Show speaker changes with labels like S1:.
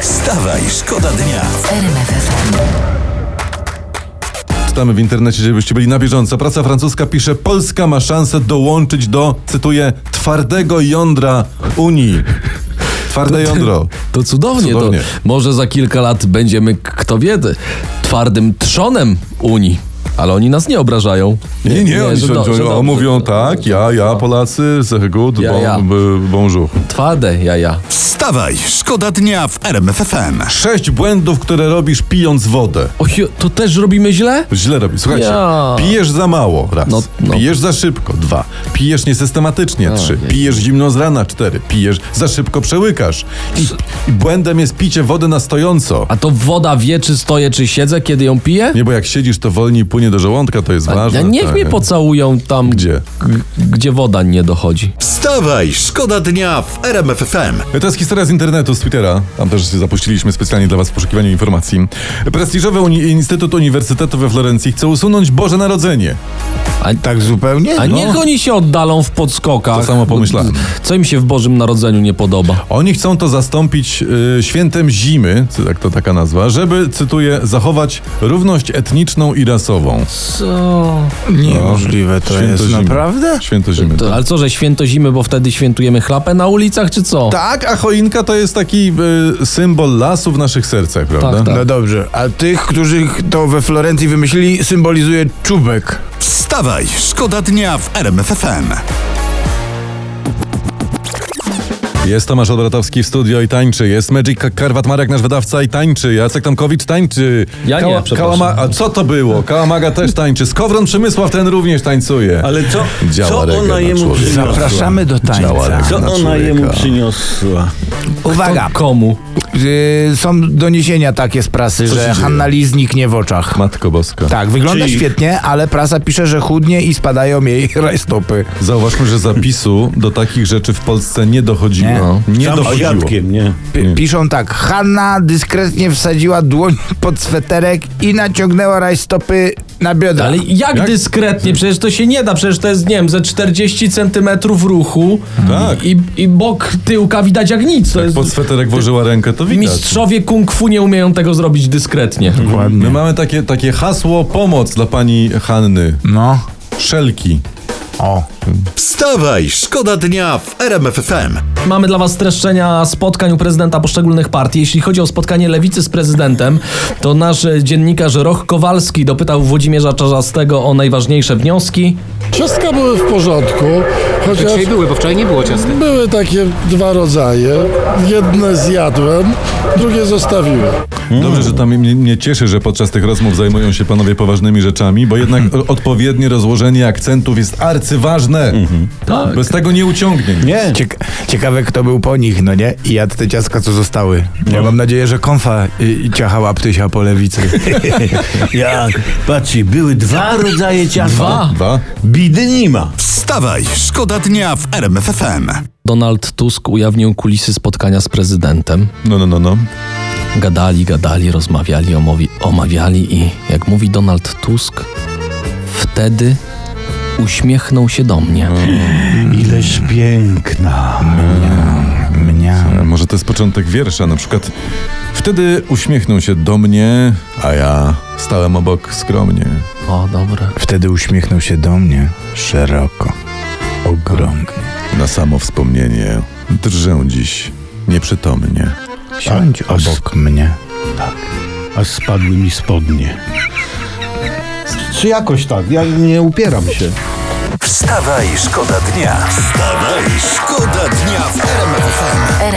S1: Wstawaj, szkoda dnia.
S2: RMF FM.
S3: Czytamy w internecie, żebyście byli na bieżąco. Praca francuska pisze, Polska ma szansę dołączyć do, cytuję, twardego jądra Unii.
S4: No
S3: Twarde jądro.
S4: To cudownie,
S3: Cudownie.
S4: To może za kilka lat będziemy, k- kto wie, d- twardym trzonem Unii. Ale oni nas nie obrażają.
S3: Nie, nie, oni
S4: że do-
S3: sądzą,
S4: że
S3: o,
S4: do-
S3: mówią
S4: że-
S3: tak, ja, ja, Polacy, c'est good,
S4: Ja,
S3: bon,
S4: ja.
S3: b- bonjour.
S4: Twarde jaja.
S1: Wstawaj, szkoda dnia w RMF FM.
S3: Sześć błędów, które robisz pijąc wodę.
S4: Oj, to też robimy źle?
S3: Źle robisz. Słuchajcie,
S4: Ja.
S3: pijesz za mało, raz.
S4: No, no.
S3: Pijesz za szybko, dwa. Pijesz niesystematycznie, trzy. Pijesz zimno z rana, cztery. Pijesz za szybko, przełykasz. I, i błędem jest picie wody na stojąco.
S4: A to woda wie, czy stoję, czy siedzę, kiedy ją piję?
S3: Nie, bo jak siedzisz, to wolniej płynie do żołądka, to jest ważne.
S4: Ja niech
S3: tak.
S4: mnie pocałują tam,
S3: Gdzie?
S4: g- gdzie woda nie dochodzi.
S1: Wstawaj, szkoda dnia w RMF FM.
S3: E, To jest historia z internetu, z Twittera. Tam też się zapuściliśmy specjalnie dla was w poszukiwaniu informacji. Prestiżowy uni- Instytut Uniwersytetu we Florencji chce usunąć Boże Narodzenie.
S5: Tak zupełnie?
S4: A
S3: No.
S4: niech oni się oddalą w podskokach.
S3: To samo pomyślałem.
S4: Co im się w Bożym Narodzeniu nie podoba?
S3: Oni chcą to zastąpić y, świętem zimy, cy- tak to taka nazwa, żeby, cytuję, zachować równość etniczną i rasową.
S4: Co?
S5: Niemożliwe to
S3: No, Święto
S5: jest,
S3: zimy.
S5: naprawdę?
S3: Święto zimy. tak.
S4: To, ale co, że święto zimy, bo wtedy świętujemy chlapę na ulicach, czy co?
S3: Tak, a choinka to jest taki y, symbol lasu w naszych sercach, prawda?
S4: Tak, tak.
S5: No dobrze, a tych, którzy to we Florencji wymyślili, symbolizuje czubek.
S1: Wstawaj, szkoda dnia w RMF FM.
S3: Jest Tomasz Odratowski w studio i tańczy. Jest Magic Karwat Marek, nasz wydawca i tańczy. Jacek Tomkowicz tańczy.
S4: Ja nie, przepraszam.
S3: A co to było? Kałamaga też tańczy. Skowron Przemysław ten również tańcuje.
S6: Ale co,
S3: Działa
S6: co
S3: reggae
S6: ona
S3: na
S6: jemu
S3: człowieka.
S6: przyniosła?
S5: Zapraszamy do
S3: Działa tak.
S5: tańca.
S3: reggae.
S6: Co
S3: na
S6: ona
S3: człowieka.
S6: jemu przyniosła?
S5: Uwaga,
S4: To komu?
S5: y, są doniesienia takie z prasy,
S3: się
S5: że
S3: dzieje?
S5: Hanna Lee zniknie w oczach.
S3: Matko Boska.
S5: Tak, wygląda
S6: Czyli-
S5: świetnie, ale prasa pisze, że chudnie i spadają jej rajstopy.
S3: Zauważmy, że zapisu do takich rzeczy w Polsce nie dochodziło.
S5: Nie.
S3: No. Nie
S6: Sam
S3: dochodziło.
S6: obiadkiem, nie?
S5: P-
S3: Hmm.
S5: piszą tak, Hanna dyskretnie wsadziła dłoń pod sweterek i naciągnęła rajstopy na biodra.
S4: Ale jak,
S3: Jak?
S4: dyskretnie? Przecież to się nie da, przecież to jest, nie wiem, ze 40 centymetrów ruchu
S3: Tak.
S4: i, i bok tyłka widać jak nic. To jest...
S3: Pod sweterek włożyła rękę, to widać.
S4: Mistrzowie kung fu nie umieją tego zrobić dyskretnie.
S3: My mamy takie, takie hasło pomoc dla pani Hanny.
S5: No,
S3: Szelki.
S5: o.
S1: Wstawaj, szkoda dnia w RMF FM.
S4: Mamy dla Was streszczenia spotkań u prezydenta poszczególnych partii. Jeśli chodzi o spotkanie lewicy z prezydentem, to nasz e, dziennikarz Roch Kowalski dopytał Włodzimierza Czarzastego o najważniejsze wnioski.
S7: Ciastka były w porządku, chociaż
S8: Dzisiaj były, bo wczoraj nie było ciastek.
S7: były takie dwa rodzaje. Jedne zjadłem, drugie zostawiłem.
S3: Dobrze, że tam mnie, mnie cieszy, że podczas tych rozmów zajmują się panowie poważnymi rzeczami, bo jednak o- odpowiednie rozłożenie akcentów jest arcyważne. Tak. Bez tego nie uciągnie. nic.
S6: Nie.
S5: Cieka- ciekawe, kto był po nich, no nie? I jadł te ciastka, co zostały. Ja mam nadzieję, że konfa y, y, ciachała ptysia po lewicy.
S6: Ja, patrzcie, były dwa rodzaje ciasta.
S4: Dwa.
S3: Dwa.
S6: Bidy nie ma.
S1: Wstawaj, szkoda dnia w RMF FM.
S4: Donald Tusk ujawnił kulisy spotkania z prezydentem.
S3: No, no, no, no.
S4: Gadali, gadali, rozmawiali, omowi, omawiali i jak mówi Donald Tusk, wtedy uśmiechnął się do mnie.
S6: Ileż piękna.
S5: Mnia.
S3: A Może to jest początek wiersza, na przykład. Wtedy uśmiechnął się do mnie, a ja stałem obok skromnie.
S4: O, dobre.
S5: Wtedy uśmiechnął się do mnie szeroko, ogromnie.
S3: Na samo wspomnienie drżę dziś nieprzytomnie.
S6: Tak,
S5: Siądź obok mnie.
S6: A spadły mi spodnie. Czy jakoś tak? Ja nie upieram się.
S1: Wstawaj, szkoda dnia. Wstawaj, szkoda dnia w RMF FM.